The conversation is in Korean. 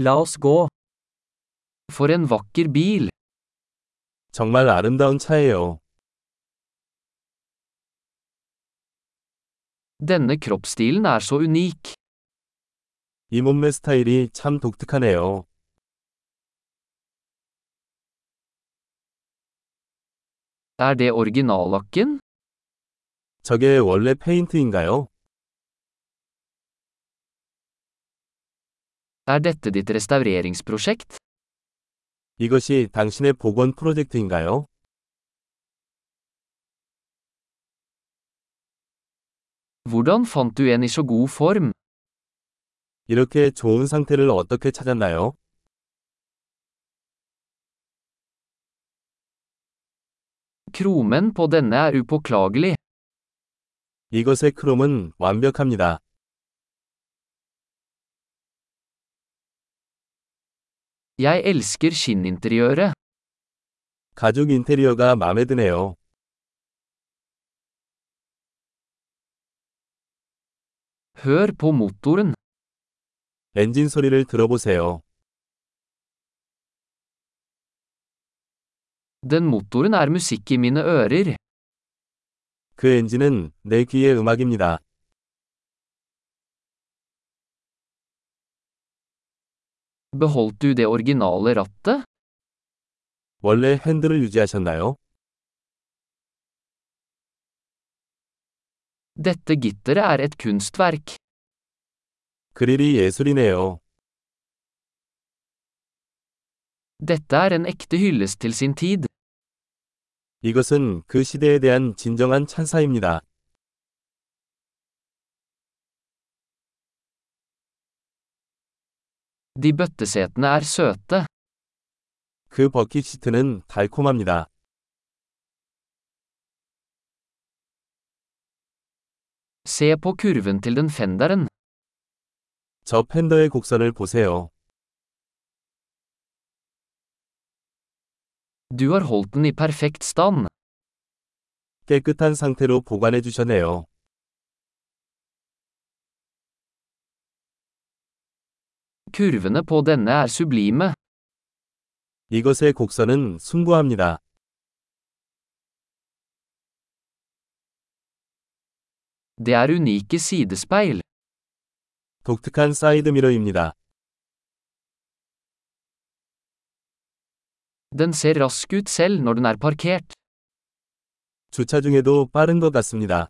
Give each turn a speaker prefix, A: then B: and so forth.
A: La oss gå. For en vakker bil.
B: 정말 아름다운 차예요.
A: Denne kroppsstilen er så unik.
B: 이 몸매 스타일이 참 독특하네요.
A: Er det originallakken?
B: 저게 원래 페인트인가요?
A: Er dette ditt restaureringsprosjekt?
B: 이것이 당신의 복원 프로젝트인가요?
A: Hvordan fant du en i så god form?
B: 이렇게 좋은 상태를 어떻게 찾았나요?
A: Kromen på denne er upåklagelig.
B: 이것의 크롬은 완벽합니다.
A: Jeg elsker skinninteriøret.
B: 가죽 인테리어가 마음에 드네요.
A: Hør på motoren.
B: 엔진 소리를 들어보세요.
A: Den motoren er musikk i mine ører.
B: 그 엔진은 내 귀의 음악입니다.
A: Beholdt du det originale rattet?
B: 원래 핸들을 유지하셨나요?
A: Dette gitteret er et kunstverk.
B: 그릴이 예술이네요.
A: Dette er en ekte hyllest til sin tid.
B: 이것은 그 시대에 대한 진정한 찬사입니다.
A: De bøttesetene er søte.
B: 그 버킷 시트는 달콤합니다.
A: Se på kurven til den fenderen.
B: 저 팬더의 곡선을 보세요.
A: Du har holdt den i perfekt stand.
B: 깨끗한 상태로 보관해 주셨네요.
A: Kurvene på denne er sublime.
B: 이것의 곡선은 숭고합니다.
A: Det er unike sidespeil.
B: 독특한 사이드미러입니다.
A: Den ser rask ut selv når den er parkert.
B: 주차 중에도 빠른 것 같습니다.